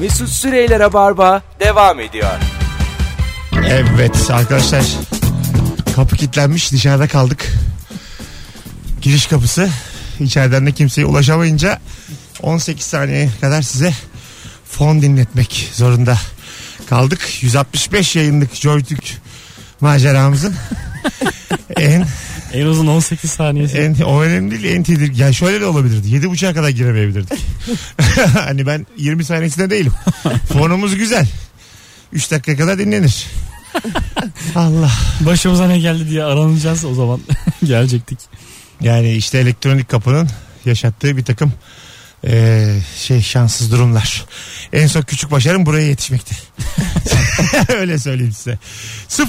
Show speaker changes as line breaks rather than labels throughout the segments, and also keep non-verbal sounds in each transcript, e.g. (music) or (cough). Mesut Süreyler'e barba devam ediyor.
Evet arkadaşlar kapı kilitlenmiş dışarıda kaldık. Giriş kapısı içeriden de kimseye ulaşamayınca 18 saniye kadar size fon dinletmek zorunda kaldık. 165 yayınlık Joytürk maceramızın en
En uzun 18 saniyesi.
en o önemli değil en tedirgin. Yani şöyle de olabilirdi. 7.30'a kadar giremeyebilirdik. (laughs) hani ben 20 saniyesinde değilim. Fonumuz güzel. 3 dakika kadar dinlenir. Allah.
Başımıza ne geldi diye aranacağız o zaman. (laughs) Gelecektik.
Yani işte elektronik kapının yaşattığı bir takım eee, şey şanssız durumlar. En son küçük başarım buraya yetişmekti. (laughs) Öyle söyleyeyim size.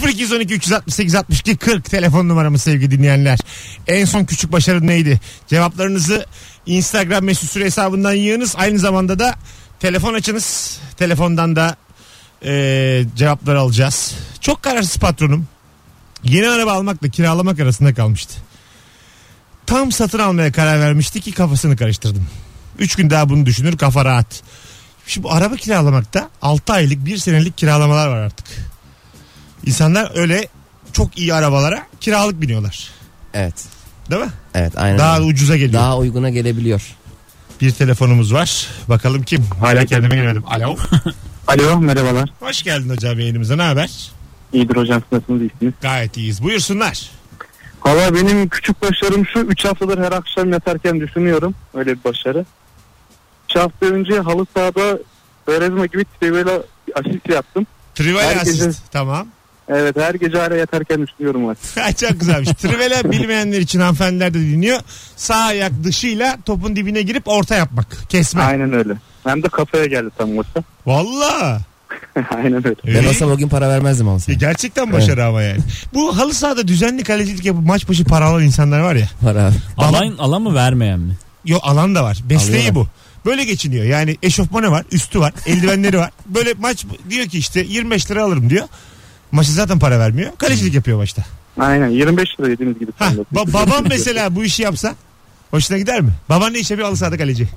0212 368 62 40 telefon numaramız sevgili dinleyenler. En son küçük başarım neydi? Cevaplarınızı Instagram mesut süre hesabından yığınız. Aynı zamanda da telefon açınız. Telefondan da eee cevapları alacağız. Çok kararsız patronum. Yeni araba almakla kiralamak arasında kalmıştı tam satın almaya karar vermişti ki kafasını karıştırdım. Üç gün daha bunu düşünür kafa rahat. Şimdi bu araba kiralamakta 6 aylık 1 senelik kiralamalar var artık. İnsanlar öyle çok iyi arabalara kiralık biniyorlar.
Evet.
Değil mi?
Evet aynen.
Daha
öyle.
ucuza geliyor.
Daha uyguna gelebiliyor.
Bir telefonumuz var. Bakalım kim? Hala kendime gelemedim. Alo.
Alo merhabalar.
Hoş geldin hocam yayınımıza. Ne haber?
İyidir hocam siz nasılsınız iyisiniz?
Gayet iyiyiz. Buyursunlar.
Valla benim küçük başarım şu 3 haftadır her akşam yatarken düşünüyorum öyle bir başarı. 3 hafta önce halı sahada Berezma gibi Trivela asist yaptım.
Trivial
Herkese-
asist. Tamam.
Evet her gece hala yatarken düşünüyorum artık.
Çok güzelmiş. Trivela bilmeyenler için hanımefendiler de dinliyor. Sağ ayak dışıyla topun dibine girip orta yapmak. Kesme.
Aynen öyle. Hem de kafaya geldi tam orta.
Valla.
(laughs) Aynen öyle.
Ee?
Ben olsam o gün para vermezdim ama
Ya
sana.
gerçekten başarı ama yani. Bu halı sahada düzenli kalecilik yapıp maç başı para alan insanlar var ya.
Para abi.
Alan, alan mı vermeyen mi?
Yo alan da var. Besleği
Alıyorlar.
bu. Böyle geçiniyor. Yani eşofmanı var, üstü var, eldivenleri var. Böyle maç diyor ki işte 25 lira alırım diyor. Maçı zaten para vermiyor. Kalecilik yapıyor maçta.
Aynen 25 lira yediğiniz gibi.
Ha, ba- babam mesela bu işi yapsa hoşuna gider mi? Baban ne işe bir halı sahada kaleci?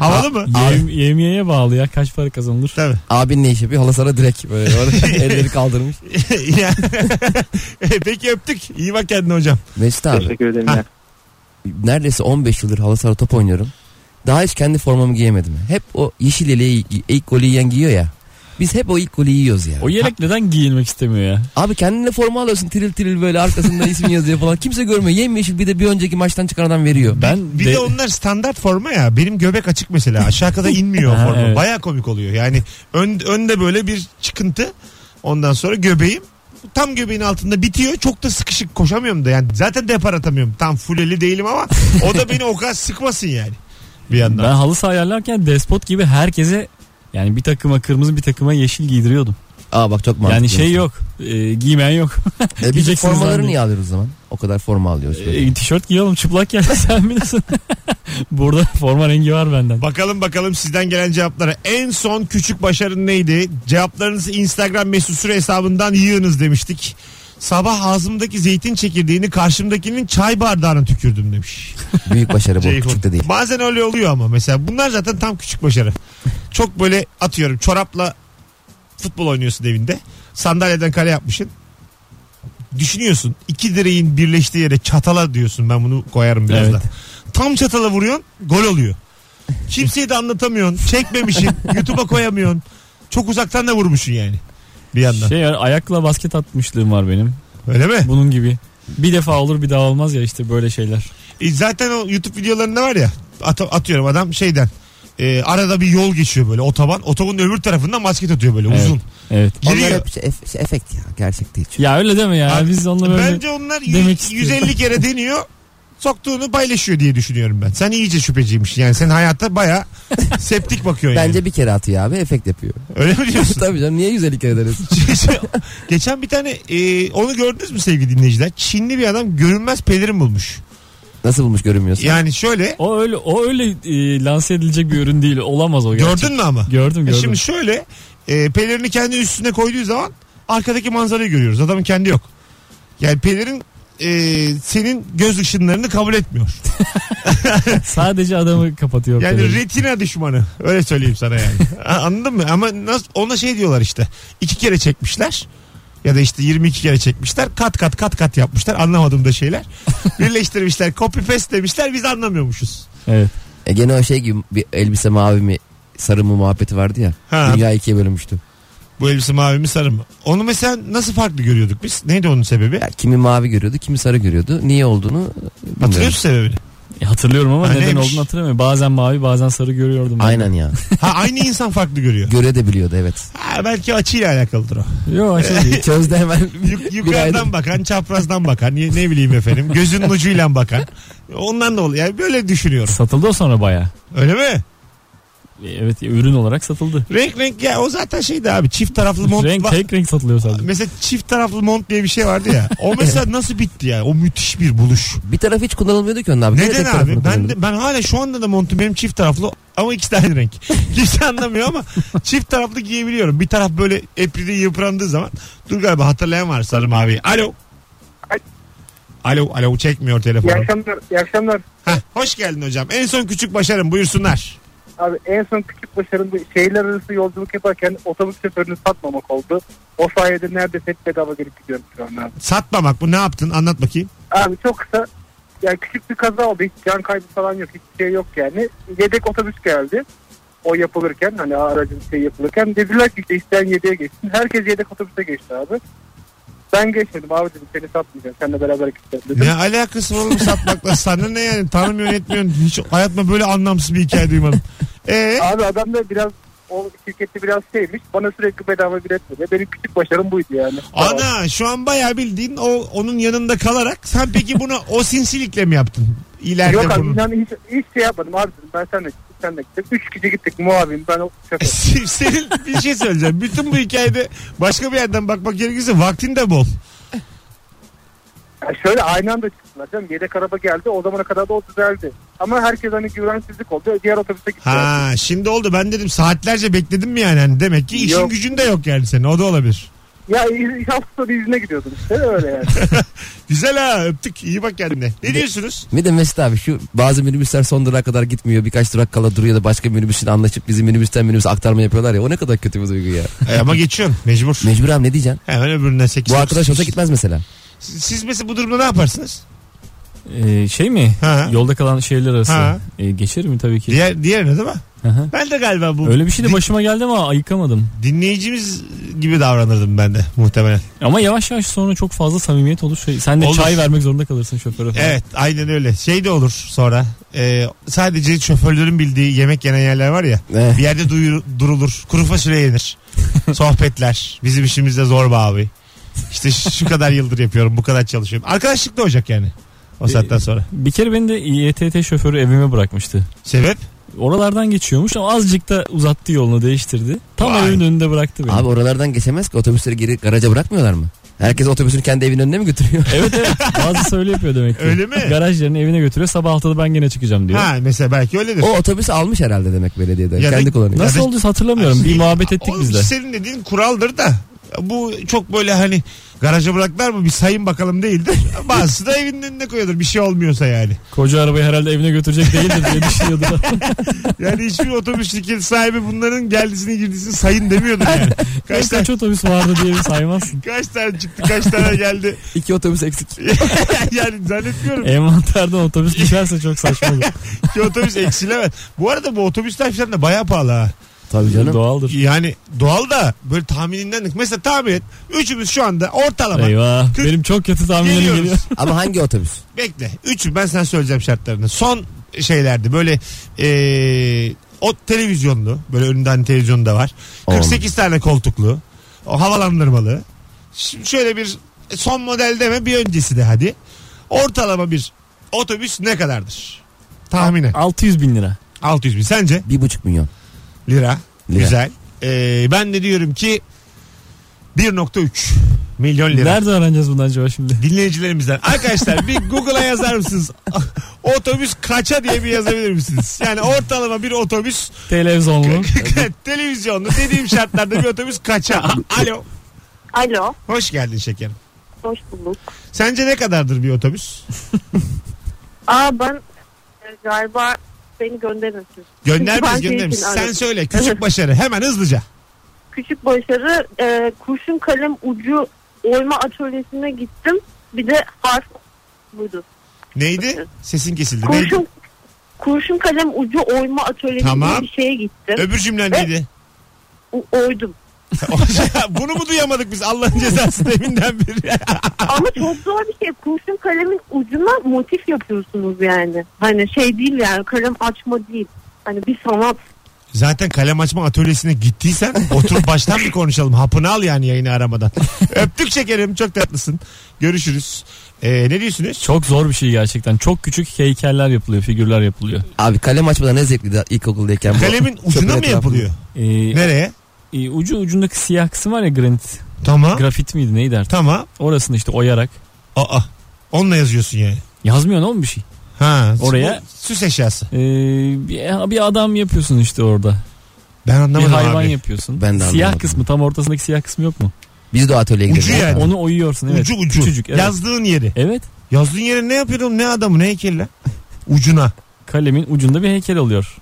Havalı mı?
Yem, yemyeğe bağlı ya. Kaç para kazanılır?
Tabii. (laughs)
Abin ne iş yapıyor? Halı sana direkt böyle
(laughs)
orada elleri kaldırmış.
Ya. E, Peki öptük. İyi bak kendine hocam.
Mesut abi
Teşekkür ederim.
Ha.
ya.
neredeyse 15 yıldır halı sahada top oynuyorum. Daha hiç kendi formamı giyemedim. Hep o yeşil eleği gi- ilk golü yiyen giyiyor ya. Biz hep o ilk golü yiyoruz ya.
O yelek neden giyilmek istemiyor ya?
Abi kendine forma alıyorsun tiril tiril böyle arkasında ismin yazıyor falan. Kimse görmüyor. Yemyeşil bir de bir önceki maçtan çıkan adam veriyor.
Ben
Bir de onlar standart forma ya. Benim göbek açık mesela. Aşağı kadar inmiyor o
(laughs) Ha,
forma.
evet.
Baya komik oluyor. Yani ön, önde böyle bir çıkıntı. Ondan sonra göbeğim tam göbeğin altında bitiyor. Çok da sıkışık koşamıyorum da. Yani zaten depar atamıyorum. Tam fuleli değilim ama o da beni o kadar sıkmasın yani. Bir yandan.
ben halı saha ayarlarken despot gibi herkese yani bir takıma kırmızı bir takıma yeşil giydiriyordum.
Aa bak çok mantıklı.
yani şey yok. E, giymeyen yok.
E, biz bu
Giyeceksiniz
formaları
zannediyorum.
niye alıyoruz o zaman? O kadar forma alıyoruz böyle.
E, tişört giyelim çıplak gel (laughs) sen bilirsin. Burada forma rengi var benden.
Bakalım bakalım sizden gelen cevaplara. En son küçük başarın neydi? Cevaplarınızı Instagram mesut süre hesabından yığınız demiştik. Sabah ağzımdaki zeytin çekirdeğini karşımdakinin çay bardağına tükürdüm demiş.
Büyük başarı bu.
Ceyhun.
Küçük de değil.
Şey Bazen öyle oluyor ama mesela bunlar zaten tam küçük başarı. Çok böyle atıyorum çorapla futbol oynuyorsun evinde. Sandalyeden kale yapmışsın. Düşünüyorsun iki direğin birleştiği yere çatala diyorsun ben bunu koyarım birazdan.
Evet.
Tam çatala vuruyorsun gol oluyor. Kimseye de anlatamıyorsun. Çekmemişsin. (laughs) YouTube'a koyamıyorsun. Çok uzaktan da vurmuşsun yani. Bir yandan.
Şey yani ayakla basket atmışlığım var benim.
Öyle mi?
Bunun gibi. Bir defa olur bir daha olmaz ya işte böyle şeyler.
E zaten o YouTube videolarında var ya at- atıyorum adam şeyden e, arada bir yol geçiyor böyle otoban. Otobanın öbür tarafından basket atıyor böyle
Evet.
uzun.
Evet.
Onlar
Giriyor.
hep şey, ef- şey, efekt ya. Gerçek değil. çünkü.
Ya öyle deme ya.
Abi,
Biz onunla böyle
Bence onlar yüz-
demek istiyorum.
150
(laughs)
kere deniyor. Soktuğunu paylaşıyor diye düşünüyorum ben. Sen iyice şüpheciymişsin. Yani sen hayatta baya septik bakıyorsun yani.
Bence bir kere atıyor abi efekt yapıyor.
Öyle mi (laughs)
(laughs)
diyorsun? şey,
Tabii canım niye
(laughs)
güzellik ederiz?
Geçen bir tane e, onu gördünüz mü sevgili dinleyiciler? Çinli bir adam görünmez pelerin bulmuş.
Nasıl bulmuş görünmüyorsun?
Yani şöyle
o öyle o öyle e, lanse edilecek bir ürün değil. Olamaz o gerçek.
gördün mü ama?
Gördüm
E
gördüm.
Şimdi şöyle e, pelerini kendi üstüne koyduğu zaman arkadaki manzarayı görüyoruz. Adamın kendi yok. Yani pelerin e, senin göz ışınlarını kabul etmiyor.
Sadece adamı kapatıyor.
Yani
Pelin.
retina düşmanı. Öyle söyleyeyim sana yani. A- Anladın mı? Ama nasıl, ona şey diyorlar işte. iki kere çekmişler. Ya da işte 22 kere çekmişler. Kat kat kat kat yapmışlar. Anlamadığım da şeyler. Birleştirmişler. Copy paste demişler. Biz anlamıyormuşuz.
Evet.
E gene o şey gibi bir elbise mavi mi sarı mı muhabbeti vardı ya.
Ha.
Dünya ikiye bölünmüştü.
Bu elbise mavi mi sarı mı? Onu mesela nasıl farklı görüyorduk biz? Neydi onun sebebi?
Ya kimi mavi görüyordu, kimi sarı görüyordu. Niye olduğunu
Hatırlıyor
bilmiyorum.
musun sebebini?
E, Hatırlıyorum ama
Ha,
neden
neymiş?
olduğunu hatırlamıyorum. Bazen mavi bazen sarı görüyordum. ben.
Aynen ya.
Ha aynı insan farklı görüyor.
Göre de biliyordu evet.
Ha, belki açıyla alakalıdır o.
Yok
(laughs)
şey değil.
Çözdü hemen.
(laughs)
Yuk-
Günaydın.
yukarıdan bakan, çaprazdan bakan, ne ne bileyim efendim, gözünün ucuyla bakan. Ondan da oluyor. Yani böyle düşünüyorum.
Satıldı o sonra baya.
Öyle mi?
Evet ürün olarak satıldı.
Renk renk ya o zaten şeydi abi. Çift taraflı mont.
renk
va-
tek renk satılıyor sadece.
Mesela çift taraflı mont diye bir şey vardı ya. O
(laughs)
mesela nasıl bitti ya? O müthiş bir buluş.
Bir taraf hiç kullanılmıyordu ki onun abi. Gene
Neden
tek tarafını
abi? Ben
kullanıyordu.
de, ben hala şu anda da montum benim çift taraflı ama ikisi de aynı renk. Kimse anlamıyor ama çift taraflı giyebiliyorum. Bir taraf böyle epride yıprandığı zaman. Dur galiba hatırlayan var sarı mavi. Alo. Alo alo çekmiyor
İyi
telefonu.
akşamlar. iyi akşamlar.
Heh, hoş geldin hocam. En son küçük başarım buyursunlar.
Abi en son küçük başarım bu şehirler arası yolculuk yaparken otobüs şoförünü satmamak oldu. O sayede neredeyse hep bedava gelip gidiyorum şu an abi.
Satmamak bu ne yaptın anlat bakayım.
Abi çok kısa yani küçük bir kaza oldu. Hiç can kaybı falan yok. Hiçbir şey yok yani. Yedek otobüs geldi. O yapılırken hani aracın şey yapılırken dediler ki işte isteyen yedeğe geçsin. Herkes yedek otobüse geçti abi. Ben geçmedim abi dedim seni satmayacağım. Seninle beraber gideceğim dedim.
Ne alakası var oğlum satmakla sana ne yani tanımıyorsun etmiyorsun hiç hayatımda böyle anlamsız bir hikaye duymadım. Ee,
Abi adam da biraz o şirkette biraz şeymiş. Bana sürekli bedava bilet veriyor. Benim küçük başarım buydu yani.
ana şu an bayağı bildiğin o onun yanında kalarak sen peki bunu o sinsilikle mi yaptın? İleride
Yok abi
bunu. (laughs)
inan hiç, hiç şey yapmadım abi dedim. Ben senle gittim senle gittim. Üç kişi gittik muavim ben o şoför.
Senin bir şey söyleyeceğim. Bütün bu hikayede başka bir yerden bakmak gerekirse vaktin de bol.
Ya şöyle aynı anda çıktılar canım. Yedek araba geldi. O zamana kadar da o düzeldi. Ama herkes hani güvensizlik oldu. Diğer otobüse gittiler.
Ha şimdi oldu ben dedim saatlerce bekledim mi yani Hani demek ki işin
Yok.
gücün de yok yani senin o da olabilir.
Ya iz- hafta sonu izine gidiyordum işte
(laughs)
öyle yani.
Güzel ha öptük iyi bak kendine. Ne diyorsunuz?
Bir de Mesut abi şu bazı minibüsler son durağa kadar gitmiyor. Birkaç durak kala duruyor da başka minibüsle anlaşıp bizim minibüsten minibüse aktarma yapıyorlar ya. O ne kadar kötü bir
(laughs)
duygu ya.
E, ama geçiyorsun mecbur.
Mecbur abi ne diyeceksin?
Hemen öbüründen 8
Bu arkadaş olsa gitmez mesela.
Siz mesela bu durumda ne yaparsınız?
Ee, şey mi?
Ha.
Yolda kalan şehirler
Ha.
arası. Ee, geçer mi tabii ki?
Diğer diğerine değil mi?
Aha.
Ben de galiba bu
Öyle bir şey de
di-
başıma geldi ama ayıkamadım.
dinleyicimiz gibi davranırdım ben de muhtemelen.
Ama yavaş yavaş sonra çok fazla samimiyet olur. Şey, sen de
Olur. E,
çay vermek zorunda kalırsın şoföre falan.
Evet aynen öyle. Şey de olur sonra. Ee, sadece şoförlerin bildiği yemek yenen yerler var ya.
Eh.
Bir yerde duyur- durulur. Kuru fasulye
(laughs)
yenir. Sohbetler. Bizim işimizde zor be abi. İşte şu şu kadar yıldır yapıyorum. Bu kadar çalışıyorum. Arkadaşlık da olacak yani. O saatten sonra.
Bir kere beni de İETT şoförü evime bırakmıştı.
Sebep?
Oralardan geçiyormuş ama azıcık da uzattı yolunu değiştirdi. Tam
Vay.
evimin önünde bıraktı beni. (laughs)
Abi oralardan geçemez ki otobüsleri geri garaja bırakmıyorlar mı? Herkes otobüsünü kendi evinin önüne mi götürüyor?
Evet evet bazısı öyle yapıyor demek ki.
Öyle mi?
Garaj yerine evine götürüyor sabah altıda ben gene çıkacağım diyor.
Ha mesela belki öyledir.
o otobüsü almış herhalde demek belediyede.
Ya da-
kendi kullanıyor.
Nasıl
Ya da-
oldu hatırlamıyorum.
Ay,
bir muhabbet ettik
Oğlum
biz
Şey,
de.
Senin dediğin kuraldır da bu çok böyle hani garaja bıraktılar mı bir sayın bakalım
(laughs)
değildir. Bazısı da evinin önüne koyuyordur bir şey olmuyorsa yani.
Koca arabayı herhalde evine götürecek değildir diye düşünüyordu.
(laughs) Yani hiçbir otobüs şirketi sahibi bunların geldisini girdisini sayın demiyordur yani. Kaç
kaç,
tane,
kaç otobüs vardı diye bir saymazsın.
kaç tane çıktı kaç tane geldi. (laughs)
İki otobüs eksik.
yani zannetmiyorum
Envanterden otobüs düşerse çok saçma
(laughs)
olur.
ki otobüs eksilemez. Bu arada bu otobüsler falan da bayağı pahalı ha.
Tabii canım.
Doğaldır.
Yani doğal da böyle tahmininden mesela tahmin et. Üçümüz şu anda ortalama
Eyvah.
Kırk-
Benim çok kötü tahminlerim
geliyoruz.
geliyor.
Ama hangi otobüs?
Bekle. Üçü ben sana söyleyeceğim şartlarını. Son şeylerde böyle eee, o televizyonlu böyle önünde hani televizyonu da var.
Oğlum.
48 tane koltuklu. O havalandırmalı. Ş- şöyle bir e, son model deme bir öncesi de hadi. Ortalama bir otobüs ne kadardır? Tahminen.
600 bin lira.
600 bin sence?
Bir buçuk milyon.
Lira.
Lira.
Güzel. Eee, ben de diyorum ki 1.3 milyon lira.
Nerede öğreneceğiz bundan acaba şimdi?
dinleyicilerimizden. Arkadaşlar bir Google'a yazar mısınız? (laughs) Otobüs kaça diye bir yazabilir misiniz? Yani ortalama bir otobüs (laughs)
Televizyonlu.
televizyonda dediğim şartlarda bir otobüs kaça? Alo.
Alo,
Hoş geldin şekerim.
hoş bulduk.
Sence ne kadardır bir otobüs?
Aa ben e, galiba beni gönderin siz.
Gönder
Çünkü ben
biz
şey
göndermiş.
için
Sen
aradım.
söyle küçük
Evet.
başarı hemen hızlıca.
Küçük başarı e, kurşun kalem ucu oyma atölyesine gittim. Bir de harf buydu.
Neydi? Sesin kesildi. Neydi?
Kurşun kurşun kalem ucu oyma atölyesine
Tamam.
bir şeye gittim.
Öbür cümlen
(laughs)
neydi? (laughs)
O- oydum.
Bunu mu duyamadık biz Allah'ın cezası deminden beri?
Ama çok zor bir şey. Kurşun kalemin ucuna motif yapıyorsunuz yani. Hani şey değil yani kalem açma değil. Hani bir sanat.
Zaten kalem açma atölyesine gittiysen
(laughs)
oturup baştan bir konuşalım. Hapını al yani yayını aramadan. Öptük şekerim çok tatlısın. Görüşürüz. Ee, ne diyorsunuz?
Çok zor bir şey gerçekten. Çok küçük heykeller yapılıyor, figürler yapılıyor.
Abi kalem açmadan ne zevkli de ilkokuldayken. bu
Kalemin
çöpün
ucuna mı
etrafında.
yapılıyor?
Ee,
Nereye?
e, ucu ucundaki siyah kısım var ya granit.
Tamam.
Grafit miydi neydi artık?
Tamam.
Orasını işte oyarak.
Aa. Onunla yazıyorsun yani.
Yazmıyorsun oğlum bir şey.
Ha.
Oraya-
bu Süs eşyası.
Ee, bir, bir adam yapıyorsun işte orada.
Ben anlamadım
bir hayvan
abi.
yapıyorsun.
Ben de
siyah
anlamadım.
kısmı tam ortasındaki siyah kısmı yok mu?
Biz de o atölyeye
Ucu
gidelim.
yani.
Onu oyuyorsun evet.
Ucu ucu.
Küçücük, evet.
Yazdığın yeri.
Evet.
Yazdığın yeri ne yapıyordun? Ne adamı ne heykeli lan? Ucuna.
Kalemin ucunda bir heykel oluyor.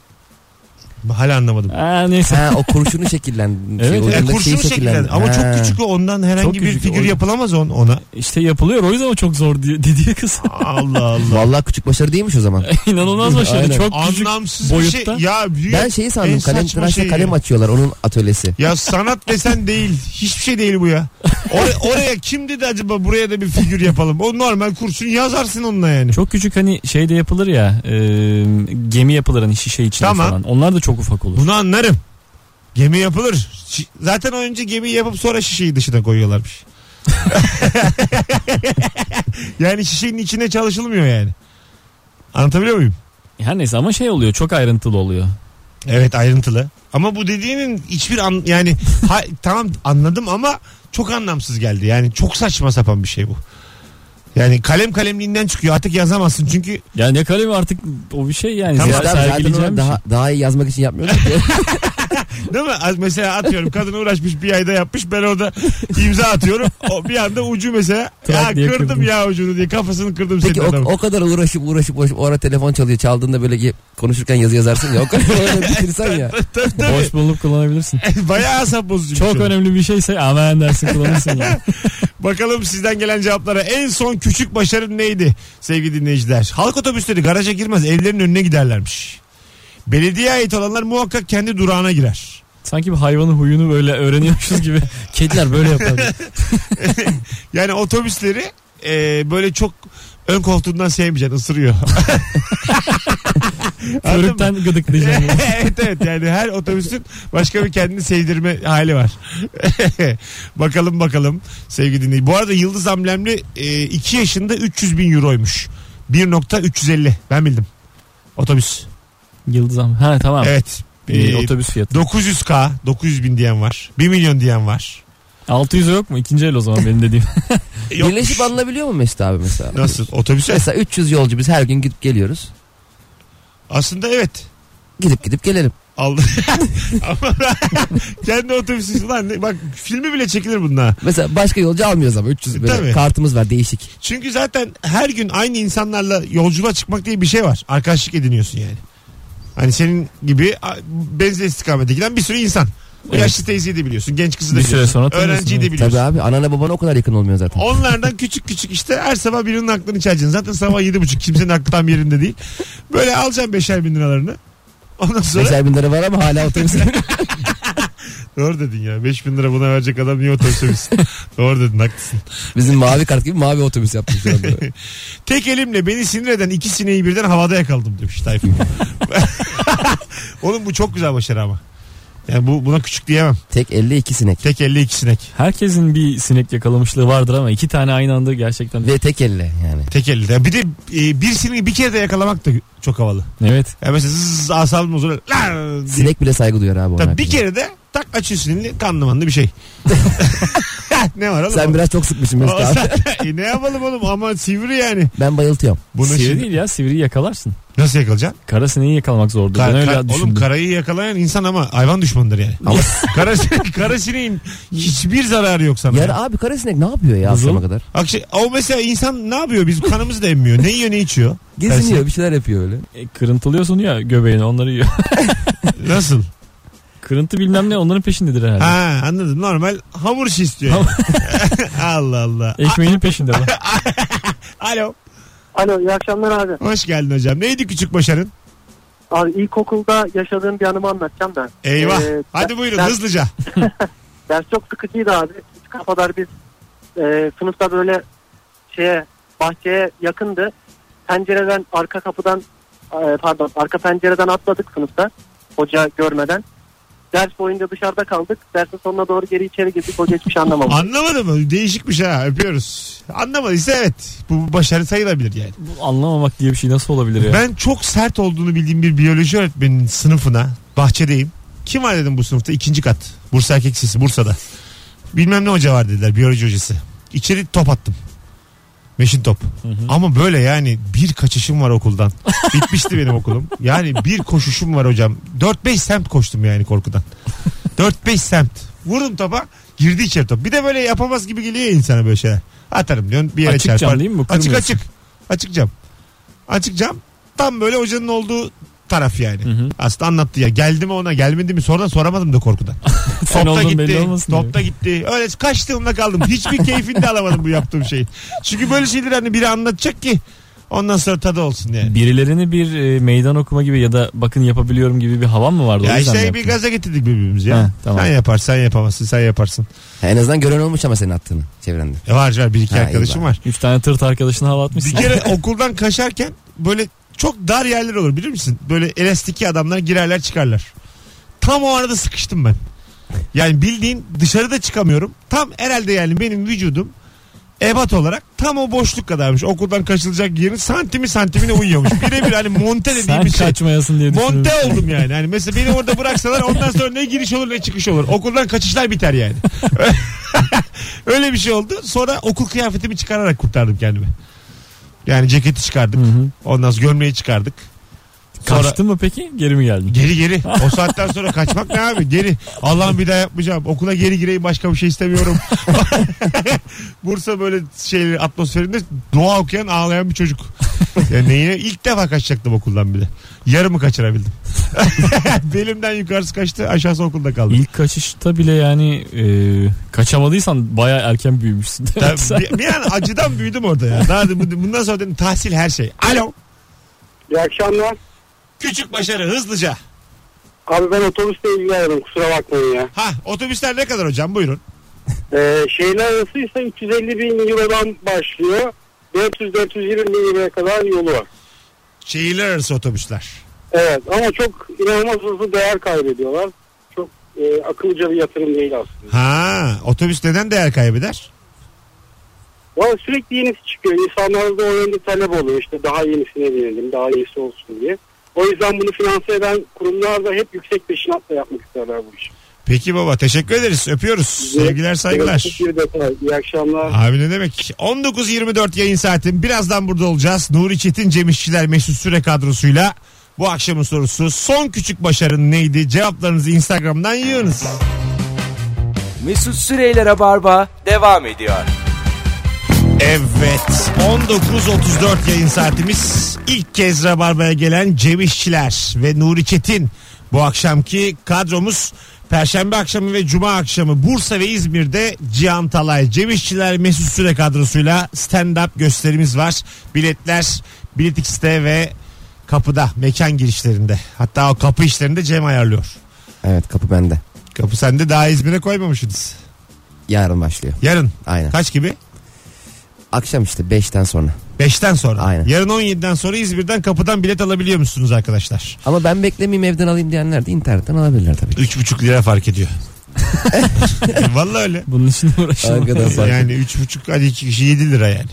Hala anlamadım.
Aa, neyse.
Ha o kurşunu şekillendirdi.
Evet, evet.
E, kurşunu şekillendir. Ama çok küçük o, ondan herhangi
Çok
bir
küçük,
figür
o-
yapılamaz on,
(laughs)
ona.
İşte yapılıyor o yüzden o çok zor diye, dediği kız.
Allah Allah.
Vallahi küçük başarı değilmiş o zaman.
(laughs) İnanılmaz başarılı.
Aynen.
Çok küçük.
Anlamsız bir
boyutta.
şey. Ya büyük.
Ben şeyi
En
sandım. Kalem
saçma
tıraşla
şey
kalem
ya.
açıyorlar onun atölyesi.
Ya sanat desen değil. Hiçbir şey değil bu ya. Or- oraya kim dedi acaba buraya da bir figür yapalım. O normal kurşun yazarsın onunla yani.
Çok küçük hani şey de yapılır ya e, gemi yapılır hani şişe içine
Tamam.
falan. Onlar da çok ufak olur.
Bunu anlarım. Gemi yapılır. Şi- Zaten önce gemi yapıp sonra şişeyi dışına
(laughs)
koyuyorlarmış. (laughs) yani şişenin içine çalışılmıyor yani. Anlatabiliyor muyum?
Her neyse ama şey oluyor çok ayrıntılı oluyor.
Evet ayrıntılı. Ama bu dediğinin hiçbir an yani (laughs) ha- tamam anladım ama çok anlamsız geldi. Yani çok saçma sapan bir şey bu. Yani kalem kalemliğinden çıkıyor artık yazamazsın çünkü
Ya ne kalemi artık o bir şey yani.
Tamam.
Tamam.
Biz de abi zaten
Sergileyeceğim
onu
bir
daha, daha iyi yazmak için yapmıyorlar
(laughs)
ki.
değil mi? Az- Mesela atıyorum kadın uğraşmış bir ayda yapmış ben orada imza atıyorum. O bir anda ucu mesela ya
Tak diye
kırdım,
kırdım."
ya ucunu diye kafasını kırdım
Peki
senin
o,
adamın.
o kadar uğraşıp uğraşıp uğraşıp o ara telefon çalıyor. Çaldığında böyle ge- konuşurken yazı yazarsın ya. O kadar öyle
(laughs)
bitirsen ya.
Tabii,
şey.
tabii.
Boş bulup kullanabilirsin.
(laughs) Bayağı asap bozucu. bir
çok
şey bu.
önemli bir şeyse aman dersin
(laughs)
kullanırsın yani.
Bakalım sizden gelen cevaplara en son küçük başarın neydi sevgili dinleyiciler? Halk otobüsleri garaja girmez evlerin önüne giderlermiş. Belediyeye ait olanlar muhakkak kendi durağına girer.
Sanki bir hayvanın huyunu böyle öğreniyormuşuz
(laughs)
gibi. Kediler böyle yapar.
Yani otobüsleri e, böyle çok ön koltuğundan sevmeyeceksin ısırıyor. (laughs) Anladın mı?
Körükten
(laughs)
gıdıklayacaksın.
evet evet yani her otobüsün başka bir kendini sevdirme hali var. (laughs) bakalım bakalım sevgili dinleyici. Bu arada Yıldız amblemli 2 yaşında 300 bin euroymuş. 1.350 ben bildim. Otobüs.
Yıldız Hanım. Ha tamam.
Evet.
Bir
E,
otobüs fiyatı.
900k 900 bin diyen var. 1 milyon diyen var.
600 yok mu? İkinci el o zaman benim dediğim. (laughs)
Yok.
Birleşip alınabiliyor mu Mesut abi mesela?
Nasıl
(laughs)
otobüse?
Mesela 300 yolcu biz her gün gidip geliyoruz.
Aslında evet.
Gidip gidip gelelim.
Aldı. (laughs) Ama (laughs) kendi otobüsü lan ne- bak filmi bile çekilir bununla.
Mesela başka yolcu almıyoruz ama 300 böyle
E, Tabii.
kartımız var değişik.
Çünkü zaten her gün aynı insanlarla yolculuğa çıkmak diye bir şey var. Arkadaşlık ediniyorsun yani. Hani senin gibi a- benzer istikamete giden bir sürü insan. O
Evet.
Yaşlı teyzeyi de biliyorsun. Genç kızı da
Bir süre
biliyorsun.
sonra tanıyorsun,
Öğrenciyi de
evet.
biliyorsun.
Tabii abi anana babana o kadar yakın olmuyor zaten.
Onlardan küçük küçük işte her sabah birinin aklını çalacaksın. Zaten sabah yedi buçuk kimsenin aklı tam yerinde değil. Böyle alacaksın beşer bin liralarını. Ondan sonra
Mesela bin lira var ama hala otobüs.
(laughs) doğru dedin ya. Beş bin lira buna verecek adam niye otobüse binsin? (laughs) doğru dedin haklısın.
Bizim mavi kart gibi mavi otobüs yaptık şu
(laughs)
anda.
Tek elimle beni sinir eden iki sineği birden havada yakaladım demiş Tayfun. Oğlum bu çok güzel başarı ama. Yani bu, buna küçük diyemem.
Tek 52 sinek.
Tek elle iki sinek.
Herkesin bir sinek yakalamışlığı vardır ama iki tane aynı anda gerçekten.
Ve tek elle yani.
Tek elle. Bir de e, bir sineği bir kere de yakalamak da çok havalı.
Evet.
Yani mesela zzz asabım bozuluyor. Lan diye.
Sinek bile saygı duyuyor abi ona.
Tabii bir kere de tak açıyorsun elini kanlı manlı bir şey. (laughs) ne var oğlum?
Sen biraz çok sıkmışsın Mesut
O-
abi.
E, ne yapalım oğlum ama sivri yani.
Ben bayıltıyorum.
Bunu
sivri
şimdi
değil ya sivriyi yakalarsın.
nasıl yakalayacaksın?
Kara sineği yakalamak zordu.
Kar-
ben öyle
kar- oğlum
düşündüm.
karayı yakalayan insan ama hayvan düşmanıdır yani. Ama (laughs) kara, sine- kara sineğin hiçbir zararı yok sana.
Yar abi karasinek ne yapıyor ya
Buzul.
akşama kadar?
Akşe, o mesela insan ne yapıyor? Biz kanımızı da emmiyor. Ne yiyor ne içiyor?
Geziniyor bir şeyler yapıyor öyle.
E, kırıntılıyorsun ya göbeğini onları yiyor. (laughs)
Nasıl?
Kırıntı bilmem ne onların peşindedir herhalde.
Ha anladım. Normal hamur şiş istiyor. yani. (laughs) Allah Allah.
Ekmeğinin
(laughs)
peşinde lan.
Alo.
Alo iyi akşamlar abi.
Hoş geldin hocam. Neydi küçük başarın?
Abi ilkokulda yaşadığım bir anımı anlatacağım da.
Eyvah.
Ee,
Hadi buyurun
ben-
hızlıca.
Ders çok sıkıcıydı abi. Biz kadar biz e, sınıfta böyle şeye bahçeye yakındı. Pencereden arka kapıdan e, pardon arka pencereden atladık sınıfta. Hoca görmeden. Ders boyunca dışarıda kaldık. Dersin sonuna doğru geri içeri girdik. Hoca hiçbir şey anlamadı.
Anlamadı mı? Değişikmiş ha. Öpüyoruz. Anlamadıysa evet. Bu başarı sayılabilir yani.
Bu Anlamamak diye bir şey nasıl olabilir ya?
Ben çok sert olduğunu bildiğim bir biyoloji öğretmeninin sınıfına bahçedeyim. Kim var dedim bu sınıfta? İkinci kat. Bursa Erkek Lisesi Bursa'da. Bilmem ne hoca var dediler biyoloji hocası. İçeri top attım. Meşin top. Ama böyle yani bir kaçışım var okuldan. Bitmişti benim okulum. Yani bir koşuşum var hocam. 4-5 semt koştum yani korkudan. 4-5 semt. Vurdum topa girdi içeri top. Bir de böyle yapamaz gibi geliyor ya insana böyle şeyler. Atarım diyorsun bir yere
Açık
çarpar.
cam değil mi bu?
Açık
Kırmıyorsun.
açık. Açık cam. Açık cam. Tam böyle hocanın olduğu taraf yani.
hı.
Aslında anlattı ya. Geldi mi ona gelmedi mi sonra soramadım da korkudan.
(laughs) Sen
topta
olduğun
gitti.
belli olmasın
topta gitti. Öyle kaçtığımda kaldım. Hiçbir keyfini de alamadım bu yaptığım şeyi. Çünkü böyle şeyler hani biri anlatacak ki ondan sonra tadı olsun yani.
Birilerini bir e, meydan okuma gibi ya da bakın yapabiliyorum gibi bir havan mı vardı? O
Ya
yüzden mi
işte bir
yaptın?
gaza getirdik birbirimizi ya.
Ha, tamam.
Sen yaparsın, sen yapamazsın, sen yaparsın.
Ha, en azından gören olmuş ama senin attığını çevrende.
E var var bir iki
Ha,
arkadaşım
eyvah.
var.
Üç tane tırt arkadaşına hava atmışsın.
Bir
(laughs)
kere okuldan kaçarken böyle çok dar yerler olur bilir misin? Böyle elastiki adamlar girerler çıkarlar. Tam o arada sıkıştım ben. Yani bildiğin dışarıda çıkamıyorum. Tam herhalde yani benim vücudum ebat olarak tam o boşluk kadarmış. Okuldan kaçılacak yerin santimi santimine uyuyormuş. Birebir hani monte
Sen
dediğimiz şey.
kaçmayasın diye düşünüyorum.
Monte oldum yani. Hani mesela beni orada bıraksalar ondan sonra ne giriş olur ne çıkış olur. Okuldan kaçışlar biter yani. (laughs) Öyle bir şey oldu. Sonra okul kıyafetimi çıkararak kurtardım kendimi. Yani ceketi çıkardık.
Hı hı.
Ondan sonra gömleği çıkardık. Sonra
Kaçtın mı peki? Geri mi geldin?
geri geri. O saatten sonra kaçmak ne abi? Geri. Allah'ım bir daha yapmayacağım. Okula geri gireyim başka bir şey istemiyorum. (laughs) Bursa böyle şey atmosferinde dua okuyan ağlayan bir çocuk. Yani neyine ilk defa kaçacaktım okuldan bile. Yarımı kaçırabildim. (laughs) Belimden yukarısı kaçtı aşağısı okulda kaldı.
İlk kaçışta bile yani e, kaçamadıysan baya erken büyümüşsün.
Tabii,
Sen-
bir, bir an acıdan büyüdüm orada ya. Daha da- bundan sonra dedim tahsil her şey. Alo.
İyi akşamlar.
Küçük başarı hızlıca.
Abi ben otobüste ilgilenirim kusura bakmayın ya.
Ha otobüsler ne kadar hocam buyurun.
Ee, şehirler arasıysa 350 bin eurodan başlıyor. 400-420 bin euroya kadar yolu var.
Şehirler arası otobüsler.
Evet ama çok inanılmaz hızlı değer kaybediyorlar. Çok e, akıllıca bir yatırım değil aslında.
Ha otobüs neden değer kaybeder?
Valla sürekli yenisi çıkıyor. İnsanlar da o yönde talep oluyor. İşte daha yenisine binelim, daha iyisi olsun diye. O yüzden bunu finanse eden kurumlar da hep yüksek peşinatla yapmak isterler bu işi.
Peki baba teşekkür ederiz. Öpüyoruz. Sevgiler saygılar.
Bir detay. İyi akşamlar.
Abi ne demek? 19.24 yayın saatin. Birazdan burada olacağız. Nuri Çetin, Cem İşçiler, Mesut Süre kadrosuyla bu akşamın sorusu son küçük başarın neydi? Cevaplarınızı Instagram'dan yığınız.
Mesut Süreyler'e barba devam ediyor.
Evet 19.34 yayın saatimiz ilk kez Rabarba'ya gelen Cem İşçiler ve Nuri Çetin bu akşamki kadromuz Perşembe akşamı ve Cuma akşamı Bursa ve İzmir'de Cihan Talay, Cem İşçiler Mesut Süre kadrosuyla stand-up gösterimiz var. Biletler Bilet X'te ve kapıda mekan girişlerinde hatta o kapı işlerinde Cem ayarlıyor.
Evet kapı bende.
Kapı sende daha İzmir'e koymamışsınız.
Yarın başlıyor.
Yarın
Aynen.
kaç gibi?
Akşam işte 5'ten sonra.
5'ten sonra.
Aynen.
Yarın 17'den sonra İzmir'den kapıdan bilet alabiliyor musunuz arkadaşlar?
Ama ben beklemeyeyim evden alayım diyenler de internetten alabilirler tabii.
3,5 lira fark ediyor. (laughs) Vallahi öyle.
(laughs) Bunun için uğraşılmaz.
Hakikaten fark
Yani 3,5 hadi 2 kişi 7 lira yani.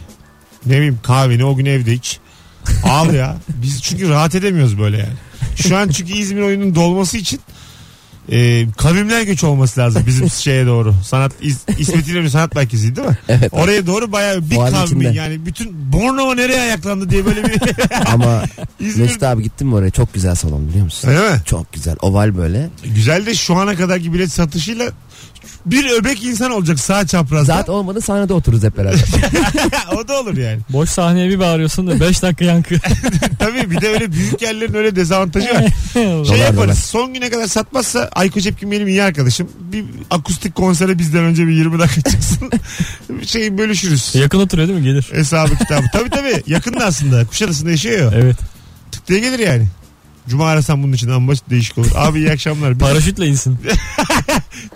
Ne bileyim kahveni o gün evde iç. Al ya. Biz çünkü rahat edemiyoruz böyle yani. Şu an çünkü İzmir oyunun dolması için e, e, kavimler göç olması lazım bizim
(laughs)
şeye doğru. Sanat İs- İsmet İnönü Sanat Merkezi değil mi?
Evet.
Oraya doğru bayağı bir
Fuarın
kavmin
içinden.
yani bütün Bornova nereye ayaklandı diye böyle
(laughs)
bir (laughs)
Ama
İzmir.
Mesut abi gittin mi oraya? Çok güzel salon biliyor musun?
Öyle mi?
Çok güzel. Oval böyle.
Güzel de şu ana kadarki bilet satışıyla bir öbek insan olacak sağ çaprazda.
Zaten olmadı sahnede otururuz
(laughs)
hep beraber.
o da olur yani.
Boş sahneye bir bağırıyorsun da 5
(laughs)
dakika yankı.
Tabii bir de öyle büyük yerlerin öyle dezavantajı var.
(laughs)
Şey
(laughs) Dolar,
yaparız.
dolar.
Son güne kadar satmazsa Ayko Cepkin benim iyi arkadaşım. Bir akustik konsere bizden önce bir 20 dakika çıksın. (laughs) Bir şey bölüşürüz.
Yakın oturuyor değil mi? Gelir.
Hesabı kitabı. tabii tabii. Yakında aslında. Kuşadası'nda yaşıyor. ya.
Evet.
Tık diye gelir yani. Cuma arasam bunun için ama değişik olur. Abi iyi akşamlar. Biz,
Paraşütle insin.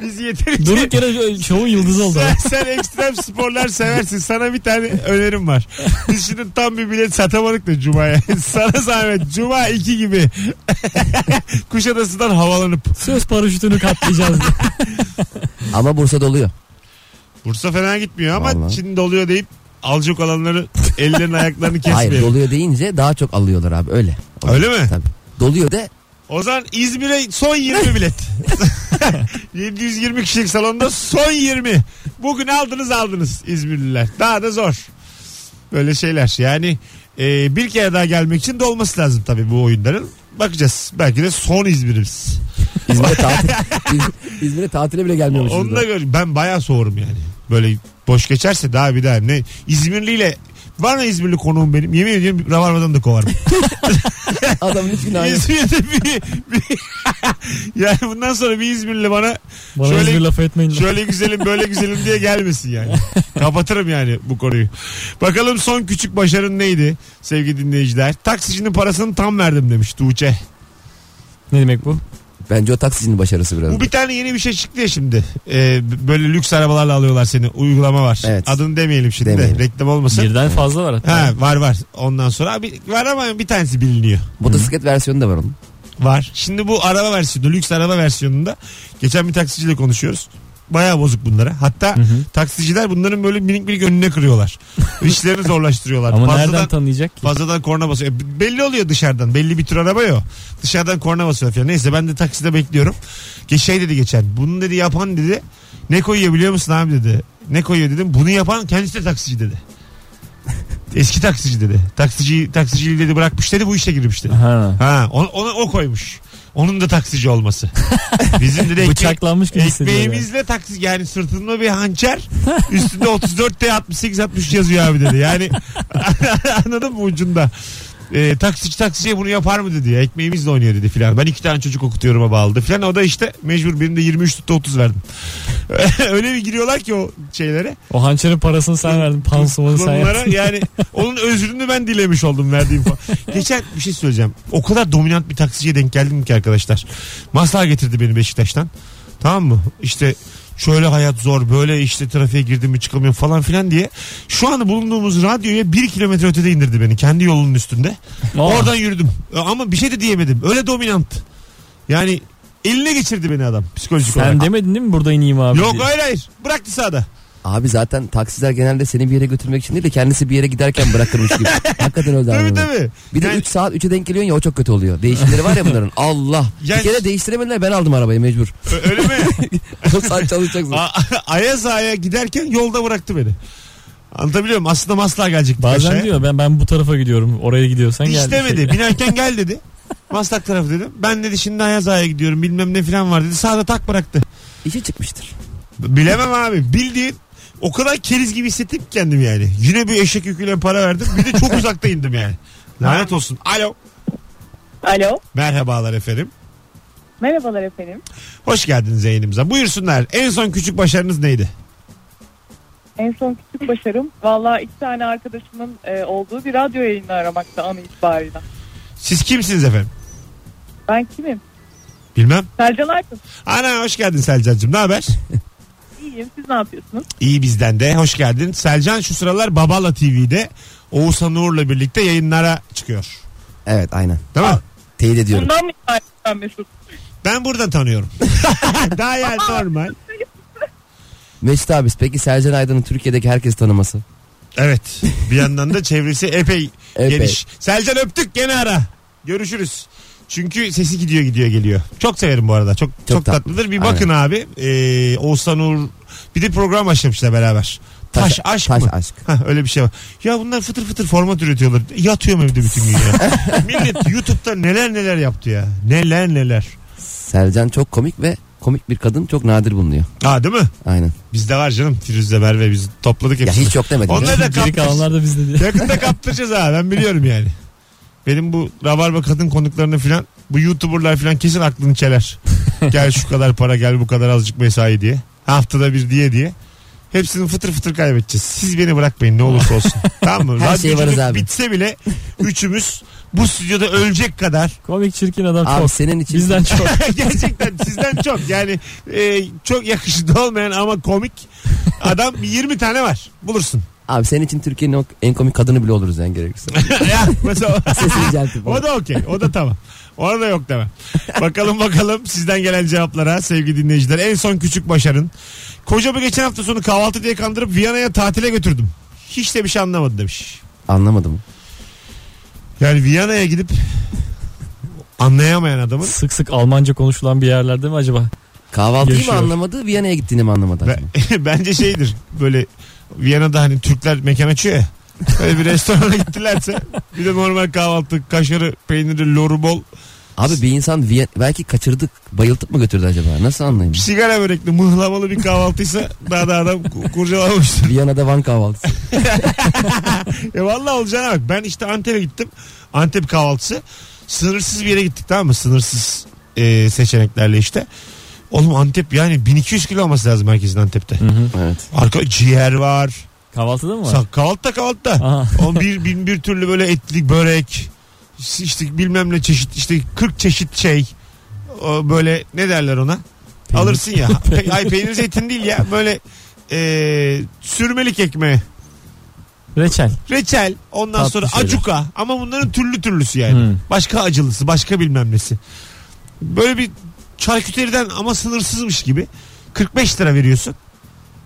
biz yeterince...
Durduk yere şovun yıldızı oldu.
Sen, sen ekstrem sporlar seversin. Sana bir tane önerim var. Biz şimdi tam bir bilet satamadık da Cuma'ya. (laughs) Sana zahmet. Cuma 2 gibi. (laughs) Kuşadası'dan havalanıp.
Söz paraşütünü katlayacağız diye.
Ama Bursa'da oluyor.
Bursa fena gitmiyor ama
Vallahi.
şimdi doluyor deyip alacak olanları ellerini ayaklarını
Hayır
kesmeyelim.
doluyor deyince daha çok alıyorlar abi öyle.
Öyle mi?
Tabii. Doluyor de
O zaman İzmir'e son 20 bilet. 720 kişilik salonda son 20. Bugün aldınız aldınız İzmirliler. Daha da zor. Böyle şeyler. Yani e, bir kere daha gelmek için dolması lazım tabii bu oyunların. Bakacağız. Belki de son İzmir'imiz.
İzmir'e
(laughs)
tatil İz- İzmir'e tatile bile gelmiyormuşuz.
Onu
da.
da gör. Ben bayağı soğurum yani. Böyle boş geçerse daha bir daha ne İzmirliyle Var mı İzmirli konuğum benim? Yemin ediyorum Ravarva'dan da kovarım.
Adamın hiç günahı yok.
İzmir'de bir, bir- (laughs) yani bundan sonra bir İzmirli bana
Bana
Şöyle-
İzmir lafı etmeyin. lan.
Şöyle güzelim böyle güzelim diye gelmesin yani. Kapatırım yani bu konuyu. Bakalım son küçük başarın neydi sevgili dinleyiciler? Taksicinin parasını tam verdim demiş Tuğçe.
Ne demek bu?
Bence o taksicinin başarısı biraz.
Bu bir tane yeni bir şey çıktı ya şimdi. Ee, böyle lüks arabalarla alıyorlar seni. Uygulama var.
Evet.
Adını demeyelim şimdi
Demeyelim.
de. Reklam olmasın.
Birden fazla var hatta.
Ha, var var. Ondan sonra abi, var ama bir tanesi biliniyor.
Motosiklet versiyonu da var onun.
Var. Şimdi bu araba versiyonu, lüks araba versiyonunda geçen bir taksiciyle konuşuyoruz. Bayağı bozuk bunlara. Hatta taksiciler bunların böyle minik minik önüne
(laughs)
kırıyorlar. İşlerini zorlaştırıyorlar.
Ama nereden
fazladan,
tanıyacak ki?
fazladan korna basıyor. E, Belli oluyor dışarıdan. Belli bir tür araba ya. o. Dışarıdan korna basıyor falan. Neyse ben de takside bekliyorum. Ge- Şey dedi geçen. Bunu dedi yapan dedi. Ne koyuyor biliyor musun abi dedi. Ne koyuyor dedim. Bunu yapan kendisi de taksici
(laughs)
dedi. Eski taksici dedi. Taksici taksiciliği dedi bırakmış dedi bu işe girmiş dedi.
Ha.
Ha, o- onu o koymuş. Onun da taksici
(laughs)
olması. Bizim de ekmek,
Bıçaklanmış gibi hissediyor. yani.
ekmeğimizle taksi yani sırtında bir hançer üstünde 34 T 68 60 yazıyor abi dedi. Yani (laughs) anladın mı ucunda? Ee, taksici taksiciye bunu yapar mı dedi. ya. Ekmeğimizle oynuyor dedi filan. Ben iki tane çocuk okutuyorum ama aldı filan. O da işte mecbur birinde 23 tuttu 30 verdim. (laughs) Öyle bir giriyorlar ki o şeylere.
O hançerin parasını sen verdin. Pansumanı sen
Bunlara
yaptın.
yani onun özrünü ben dilemiş oldum verdiğim falan. Geçen bir şey söyleyeceğim. O kadar dominant bir taksiciye denk geldim ki arkadaşlar. Masla getirdi beni Beşiktaş'tan. Tamam mı? İşte şöyle hayat zor böyle işte trafiğe girdim mi çıkamıyorum falan filan diye. Şu anda bulunduğumuz radyoya bir kilometre ötede indirdi beni kendi yolunun üstünde.
Aa.
Oradan yürüdüm ama bir şey de diyemedim. Öyle dominant. Yani eline geçirdi beni adam psikolojik
Sen
olarak.
demedin değil mi burada ineyim abi?
Yok
diye.
hayır hayır bıraktı sağda.
Abi zaten taksiciler genelde seni bir yere götürmek için değil de kendisi bir yere giderken bırakırmış gibi. Hakikaten öyle
Tabii
abi.
tabii.
Bir de
Yani-
3 saat 3'e denk geliyorsun ya o çok kötü oluyor. Değişimleri var ya bunların. Allah.
Yani-
Bir kere değiştiremediler ben aldım arabayı mecbur.
Ö- Öyle (laughs) mi?
o saat çalışacaksın.
A- (laughs) Ayaz Ağa'ya giderken yolda bıraktı beni. Anlatabiliyor muyum? Aslında Maslar gelecekti.
Bazen
aşağıya.
diyor ben ben bu tarafa gidiyorum. Oraya gidiyorsan gel. Şey-
Hiç demedi. Binerken gel dedi. Maslak tarafı dedim. Ben dedi şimdi Ayaz Ağa'ya gidiyorum bilmem ne falan var dedi. Sağda tak bıraktı.
İşi çıkmıştır.
Bilemem abi. Bildiğin o kadar keriz gibi hissettim ki kendim yani. Yine bir eşek yüküyle para verdim. Bir de çok uzakta indim yani. Lanet olsun. Alo.
Alo.
Merhabalar efendim.
Merhabalar efendim.
Hoş geldiniz yayınımıza. Buyursunlar. En son küçük başarınız neydi?
En son küçük başarım. Valla iki tane arkadaşımın e, olduğu bir radyo yayını aramakta anı itibariyle.
Siz kimsiniz efendim?
Ben kimim?
Bilmem.
Selcan Aykın.
Ana hoş geldin Selcan'cığım. Ne haber?
İyiyim. Siz ne yapıyorsunuz?
İyi bizden de. Hoş geldin. Selcan şu sıralar Babala TV'de Oğuzhan Uğur'la birlikte yayınlara çıkıyor.
Evet aynen.
Değil mi?
Teyit ediyorum.
Bundan mı itibaren Mesut?
Ben buradan tanıyorum. Daha yani normal.
Mesut abi peki Sercan Aydın'ın Türkiye'deki herkes tanıması.
Evet. Bir yandan da çevresi epey,
Epey.
geniş. Selcan öptük gene ara. Görüşürüz. Çünkü sesi gidiyor gidiyor geliyor. Çok severim bu arada. Çok çok,
tatlı.
tatlıdır. Bir bakın abi. Ee, Oğuzhan Uğur bir de program başlamışlar beraber. Taş,
Taş-
aşk
Taş
mı?
aşk.
Hah, öyle bir şey var. Ya bunlar fıtır fıtır format üretiyorlar. Yatıyorum evde bütün
(laughs)
gün ya. Millet YouTube'da neler neler yaptı ya. Neler neler.
Sercan çok komik ve komik bir kadın çok nadir bulunuyor.
Ha değil mi?
Aynen.
Bizde var canım. Firuze Merve biz topladık
Ya
hepsini.
hiç yok demedim.
Onlar da
(laughs) Geri
kaptır.
kalanlar da bizde diye.
Yakında kaptıracağız ha ben biliyorum yani. Benim bu rabarba kadın konuklarını filan bu youtuberlar filan kesin aklını çeler. gel şu kadar para gel bu kadar azıcık mesai diye. Haftada bir diye diye. Hepsini fıtır fıtır kaybedeceğiz. Siz beni bırakmayın ne olursa
(laughs)
olsun. tamam mı?
Her şeye varız
Radyoculuk
abi.
Bitse bile üçümüz bu stüdyoda ölecek
(laughs)
kadar
Komik çirkin adam
Abi
çok.
senin için
Bizden çok.
gerçekten sizden çok yani e, çok yakışıklı olmayan ama komik adam 20 tane var
(laughs)
bulursun.
abi senin için Türkiye'nin o- en komik kadını bile oluruz yani gerekirse.
ya, mesela
Sesini yüceltip.
O da okey. O da tamam. Ona da yok demem. Bakalım bakalım sizden gelen cevaplara sevgili dinleyiciler. En son küçük başarın. Kocamı geçen hafta sonu kahvaltı diye kandırıp Viyana'ya tatile götürdüm. Hiç de bir şey anlamadı demiş.
Anlamadım.
Yani Viyana'ya gidip anlayamayan adamın
Sık sık Almanca konuşulan bir yerlerde mi acaba?
Kahvaltıyı
Yaşıyor.
mı anlamadı, Viyana'ya gittiğini mi anlamadı?
be- (laughs)
acaba?
bence şeydir böyle Viyana'da hani Türkler mekan açıyor ya. Böyle bir restorana gittilerse bir de normal kahvaltı kaşarı peyniri loru bol
Abi bir insan Viyen- belki kaçırdık, bayıltıp mı götürdü acaba? Nasıl anlayayım?
sigara börekli mıhlamalı bir kahvaltıysa daha da adam ku- kurcalamıştır.
Viyana'da Van kahvaltısı.
(laughs)
E vallahi olacağına bak. Ben işte Antep'e gittim. Antep kahvaltısı. Sınırsız bir yere gittik tamam mı? Sınırsız e, seçeneklerle işte. Oğlum Antep yani 1200 kilo olması lazım herkesin Antep'te.
evet.
Arka ciğer var.
Kahvaltıda mı var?
Sa- kahvaltıda kahvaltıda.
Aha.
On bir, bin bir türlü böyle etlik börek. işte bilmem ne çeşit işte 40 çeşit şey. O böyle ne derler ona?
Peynir.
Alırsın
(laughs)
ya. Pe- Ay peynir zeytin değil ya. Böyle e, sürmelik ekmeği
Reçel.
reçel ondan
Tatlı
sonra
şeyler.
acuka ama bunların türlü türlüsü yani.
Hmm.
Başka acılısı başka bilmem nesi. Böyle bir çarküteriden ama sınırsızmış gibi 45 lira veriyorsun.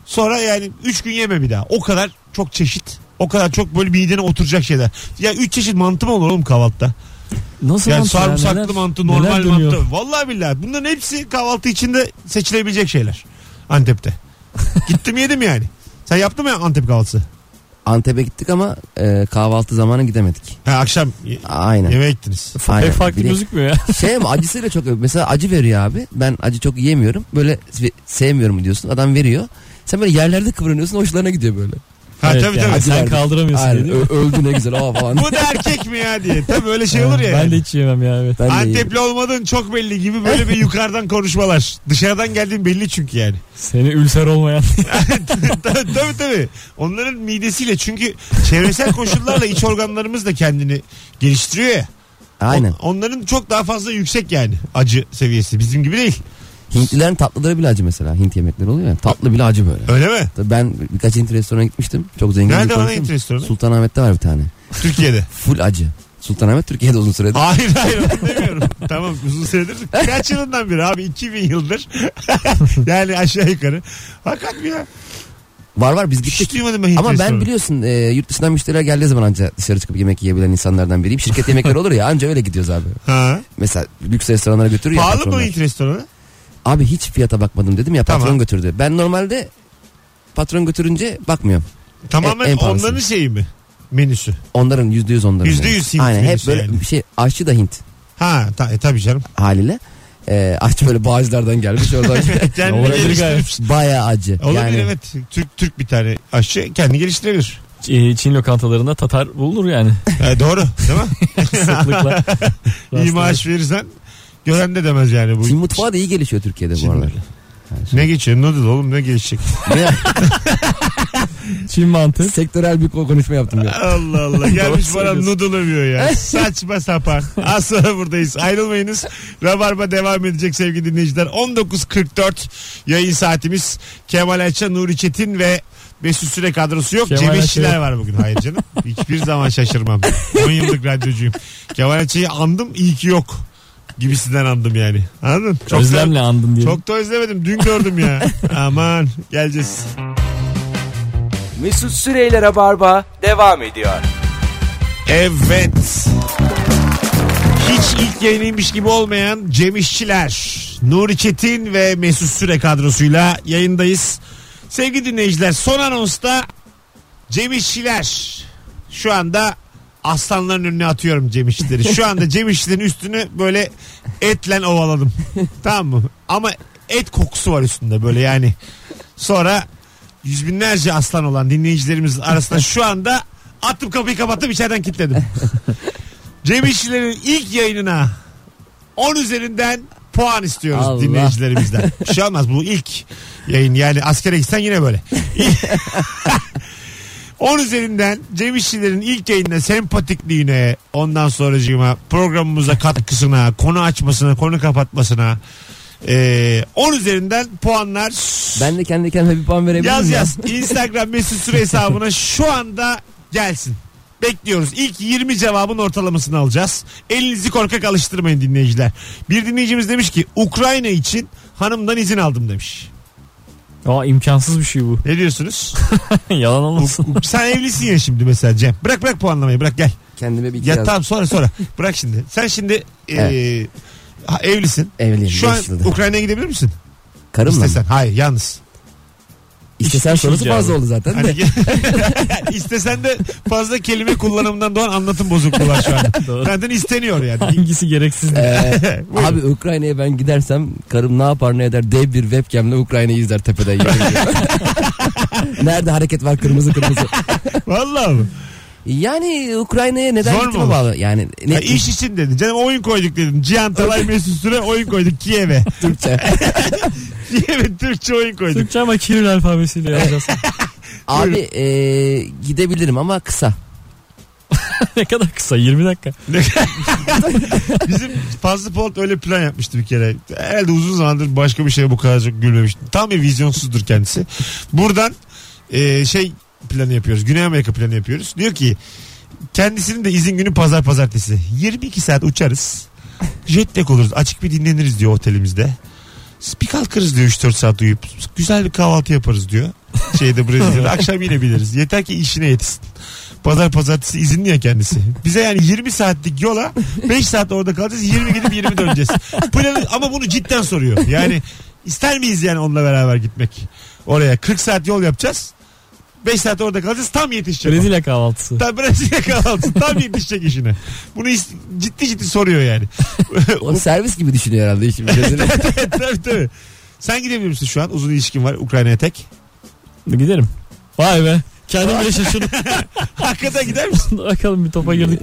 Sonra yani 3 gün yeme bir daha. O kadar çok çeşit. O kadar çok böyle midene oturacak şeyler. Ya 3 çeşit mantı mı olur oğlum kahvaltıda?
Nasıl
Yani
mantı ya?
sarımsaklı
Neler-
mantı,
neler
normal
dönüyor?
mantı. Vallahi billahi bunların hepsi kahvaltı içinde seçilebilecek şeyler.
(laughs)
Antep'te. Gittim yedim yani. Sen yaptın mı Antep kahvaltısı?
Antep'e gittik ama e, kahvaltı zamanı gidemedik.
Ha, akşam ye-
Aynen.
yemeğe gittiniz.
Aynen.
Pek E, farklı
Bir de-
gözükmüyor ya.
Şey ama acısıyla çok mesela acı veriyor abi. Ben acı çok yiyemiyorum. Böyle se- sevmiyorum diyorsun. Adam veriyor. Sen böyle yerlerde kıvranıyorsun hoşlarına gidiyor böyle.
Ha
Evet,
tabii
yani
tabii.
acı
Sen
verdim.
kaldıramıyorsun
Aynen,
diye değil mi?
ö- öldü ne güzel
(laughs)
aa falan.
Bu da erkek mi ya diye. Tabii öyle şey olur ya.
Ben
yani.
de hiç yemem ya evet.
Ben de yiyeyim.
Antepli olmadığın çok belli gibi böyle bir yukarıdan konuşmalar. Dışarıdan geldiğin belli çünkü
(laughs)
yani.
Seni ülser olmayan.
tabii tabii, tabii. Onların midesiyle çünkü çevresel koşullarla iç organlarımız da kendini geliştiriyor ya.
Aynen.
On- onların çok daha fazla yüksek yani acı seviyesi. Bizim gibi değil.
Hintlilerin tatlıları bile acı mesela. Hint yemekleri oluyor ya. Tatlı bile acı böyle.
Öyle mi?
Tabii Ben birkaç Hint restorana gitmiştim. Çok zengin
Nerede
bir
lan
konuştum.
Hint restoranı?
Sultanahmet'te var bir tane.
(laughs)
Türkiye'de.
Full acı. Sultanahmet Türkiye'de uzun süredir.
Hayır hayır onu demiyorum. tamam uzun süredir. Kaç yılından beri abi? 2000 yıldır. (laughs) yani aşağı yukarı. Hakikaten ya.
Var var biz
Hiç
gittik.
duymadım ben Hint
Ama ben
restoranı.
biliyorsun e, yurt dışından müşteriler geldiği zaman anca dışarı çıkıp yemek yiyebilen insanlardan biriyim. Şirket yemekleri olur ya anca öyle gidiyoruz abi.
Ha.
Mesela lüks restoranlara götürüyor. ya
Pahalı mı
patronlar.
Hint restoranı?
Abi hiç fiyata bakmadım dedim ya patron
Tamam.
götürdü. Ben normalde patron götürünce bakmıyorum.
Tamamen
E, En- en pahalısı.
onların şeyi mi? Menüsü.
Onların yüzde yüz onların.
Yüzde yüz Hint
Aynen hep
menüsü
böyle
yani.
bir şey aşçı da Hint
Ha ta, e, tabii canım.
haliyle. Ee, aşçı böyle bağcılardan
(laughs)
gelmiş oradan.
Kendini
Olabilir
geliştirmiş.
Baya acı.
Olabilir
yani,
evet. Türk Türk bir tane aşçı kendini geliştirebilir.
Ç- e, Çin lokantalarında Tatar bulunur yani.
E, doğru değil
(laughs)
mi?
Sıklıkla.
İyi maaş verirsen gören de demez yani bu.
Çin mutfağı da iyi gelişiyor Türkiye'de
Çin
bu aralar.
mutfağı. Ne geçiyor? Noodle oğlum ne gelişecek?
Ne-
Çin mantı.
Sektörel bir konuşma yaptım ya.
Allah Allah. Gelmiş
Doğru
bana
söylüyorsun.
noodle övüyor
(laughs)
ya. Saçma sapan. Az sonra buradayız. Ayrılmayınız. Rabarba devam edecek sevgili dinleyiciler. 19.44 yayın saatimiz. Kemal Ayça, Nuri Çetin ve Mesut Süre kadrosu yok.
Kemal
Cem
Ayça
İşçiler
yok.
var bugün. Hayır canım. Hiçbir zaman şaşırmam. 10 yıllık radyocuyum. Kemal Ayça'yı andım. iyi ki yok. Gibisinden andım yani. Anladın? Çok da-
Özlemle andın diye.
çok da özlemedim. Dün gördüm
(laughs)
ya. Aman. Geleceğiz.
Mesut Süreyler'e barba devam ediyor.
Evet. Hiç ilk yayınıymış gibi olmayan Cem İşçiler, Nuri Çetin ve Mesut Süre kadrosuyla yayındayız. Sevgili dinleyiciler son anonsta Cem İşçiler şu anda aslanların önüne atıyorum Cem İşçileri. Şu anda Cem İşçilerin üstünü böyle etle ovaladım. tamam mı? Ama et kokusu var üstünde böyle yani. Sonra yüz binlerce aslan olan dinleyicilerimiz arasında şu anda attım kapıyı kapattım içeriden kilitledim. Cem İşçilerin ilk yayınına 10 üzerinden puan istiyoruz
Allah.
dinleyicilerimizden. Bir şey olmaz bu ilk yayın yani askere gitsen yine böyle. 10 üzerinden Cem İşçilerin ilk yayında sempatikliğine ondan sonracığıma programımıza katkısına konu açmasına konu kapatmasına ee, 10 üzerinden puanlar
Ben de kendi kendime bir puan verebilirim
Yaz
ya.
yaz. Instagram mesut süre hesabına şu anda gelsin. Bekliyoruz. İlk 20 cevabın ortalamasını alacağız. Elinizi korkak alıştırmayın dinleyiciler. Bir dinleyicimiz demiş ki Ukrayna için hanımdan izin aldım demiş.
Aa imkansız bir şey bu. (laughs)
Ne
(laughs)
diyorsunuz?
Yalan olmasın.
(laughs) Sen evlisin ya şimdi mesela Cem. Bırak bırak puanlamayı bırak gel.
Kendime bir iki
Ya
yaz.
tamam sonra
(laughs)
sonra. Bırak şimdi. Sen şimdi e, ha- evlisin.
Evliyim.
Şu
beş
an
yıldır.
Ukrayna'ya gidebilir misin?
Karımla mı?
İstesen. Hayır yalnız.
İstesen
İş- iş
sorusu
icabı.
fazla oldu zaten de.
Hani (laughs) istesen de fazla kelime kullanımından doğan anlatım bozukluğu var şu an.
Doğru.
Zaten isteniyor yani.
Hangisi gereksiz?
Ee,
(laughs) Buyurun.
abi Ukrayna'ya ben gidersem karım ne yapar ne eder dev bir webcamle Ukrayna'yı izler tepeden. (laughs) yemin ediyorum. Nerede hareket var kırmızı kırmızı.
Vallahi mı?
Yani Ukrayna'ya neden
Zor mu
gitme
olur?
bağlı. Yani ne
Ha, iş için dedin. Canım oyun koyduk dedin. Cihan
(laughs)
Talay Mesut Süre oyun koyduk Kiev'e.
Türkçe.
(laughs) Kiev'e Türkçe oyun koyduk.
Türkçe ama Kiril
(laughs)
alfabesiyle yazacağız.
abi ee, gidebilirim ama kısa.
ne kadar kısa 20 dakika.
Bizim Fazlı Polat öyle plan yapmıştı bir kere. Herhalde uzun zamandır başka bir şeye bu kadar çok gülmemiştim. Tam bir vizyonsuzdur kendisi. Buradan e, şey planı yapıyoruz. Güney Amerika planı yapıyoruz. Diyor ki kendisinin de izin günü pazar pazartesi. 22 saat uçarız. Jet lag oluruz. Açık bir dinleniriz diyor otelimizde. Bir kalkarız diyor 3-4 saat uyuyup. Güzel bir kahvaltı yaparız diyor. Şeyde Brezilya'da. Akşam yine biliriz. Yeter ki işine yetişsin. Pazar pazartesi izinli ya kendisi. Bize yani 20 saatlik yola 5 saat orada kalacağız 20 gidip 20 döneceğiz. Planı, ama bunu cidden soruyor. Yani ister miyiz yani onunla beraber gitmek oraya? 40 saat yol yapacağız. 5 saat orada kalacağız tam yetişecek. o.
Brezilya kahvaltısı.
Tam Brezilya kahvaltısı tam yetişecek işine. Bunu is- ciddi ciddi soruyor
(laughs)
yani.
O servis gibi düşünüyor herhalde şimdi.
tabii tabii. Sen gidebilir misin şu an? Uzun ilişkin var Ukrayna'ya tek.
Giderim. Vay be. Kendim bile şaşırdım. (laughs)
Hakikaten gider misin?
Bakalım bir topa (laughs) girdik.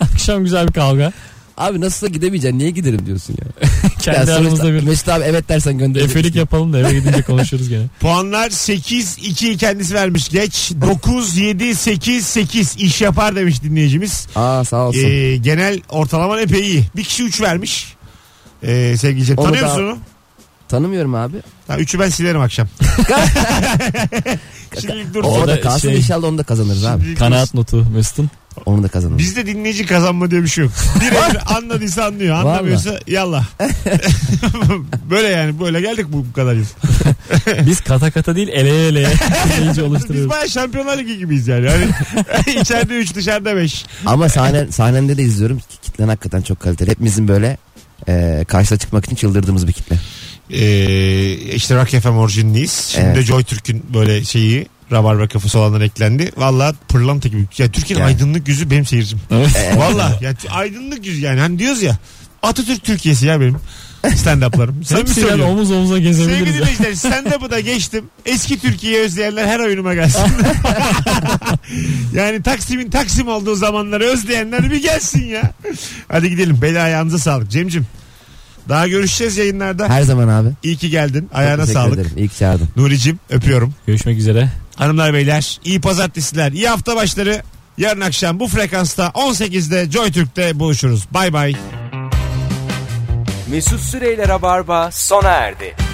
Akşam güzel bir kavga.
abi nasılsa gidemeyeceksin niye giderim diyorsun ya. Ya
Kendi
sonuçta
aramızda bir
Mesut abi evet dersen gönderecek.
efelik yapalım da eve gidince konuşuruz (laughs) gene.
Puanlar 8 2 kendisi vermiş geç. 9 7 8 8 iş yapar demiş dinleyicimiz.
Aa sağ olsun.
Ee, genel ortalama epey iyi. Bir kişi 3 vermiş. Ee, sevgili Cem.
Onu
Tanıyor
da-
musun onu?
Tanımıyorum abi.
Ha, üçü ben silerim
(laughs)
akşam. Şimdilik dur.
O
Orada
da kalsın
şey-
inşallah onu da kazanırız abi.
Şimdilik
Kanaat notu Mesut'un.
Onu da kazanırız.
Bizde dinleyici kazanma diye bir şey yok.
(laughs)
Bir anladıysa anlıyor.
Var mı?
Anlamıyorsa
(laughs)
yallah. böyle yani böyle geldik bu, bu kadar yıl.
Biz kata kata değil eleye (laughs) eleye iyice
Biz
oluşturuyoruz.
baya şampiyonlar ligi gibiyiz yani.
(laughs)
Hani içeride 3 dışarıda 5.
Ama sahnen, sahnende de izliyorum. Kitlen hakikaten çok kaliteli. Hepimizin böyle e, karşıda çıkmak için çıldırdığımız bir kitle.
Ee, işte Rock FM orijinliyiz. Şimdi
Evet.
de Joy Türk'ün böyle şeyi Rabarba kafası olanlar eklendi. Valla pırlanta gibi. Ya Türkiye'nin
Yani.
aydınlık yüzü benim seyircim.
Evet.
Valla ya t- aydınlık yüzü yani. Hani diyoruz ya Atatürk Türkiye'si ya
(laughs)
benim stand-up'larım. Sen mi
Hepsiyle
söylüyorsun?
omuz omuza
Sevgili
gezebiliriz. ya.
dinleyiciler stand-up'ı da geçtim. Eski Türkiye'yi özleyenler her oyunuma
(laughs)
gelsin. yani Taksim'in Taksim olduğu zamanları özleyenler bir gelsin ya. Hadi gidelim. Bela ayağınıza sağlık. Cem'cim daha görüşeceğiz yayınlarda.
Her zaman abi. Çok
İyi ki geldin. Ayağına
teşekkür
sağlık.
Ederim. İyi ki çağırdın.
Nuri'cim öpüyorum.
Görüşmek üzere.
Hanımlar beyler iyi pazartesiler, iyi hafta başları. Yarın akşam bu frekansta 18'de JoyTürk'te buluşuruz. Bay bay.
Mesut Süreyler'e barba sona erdi.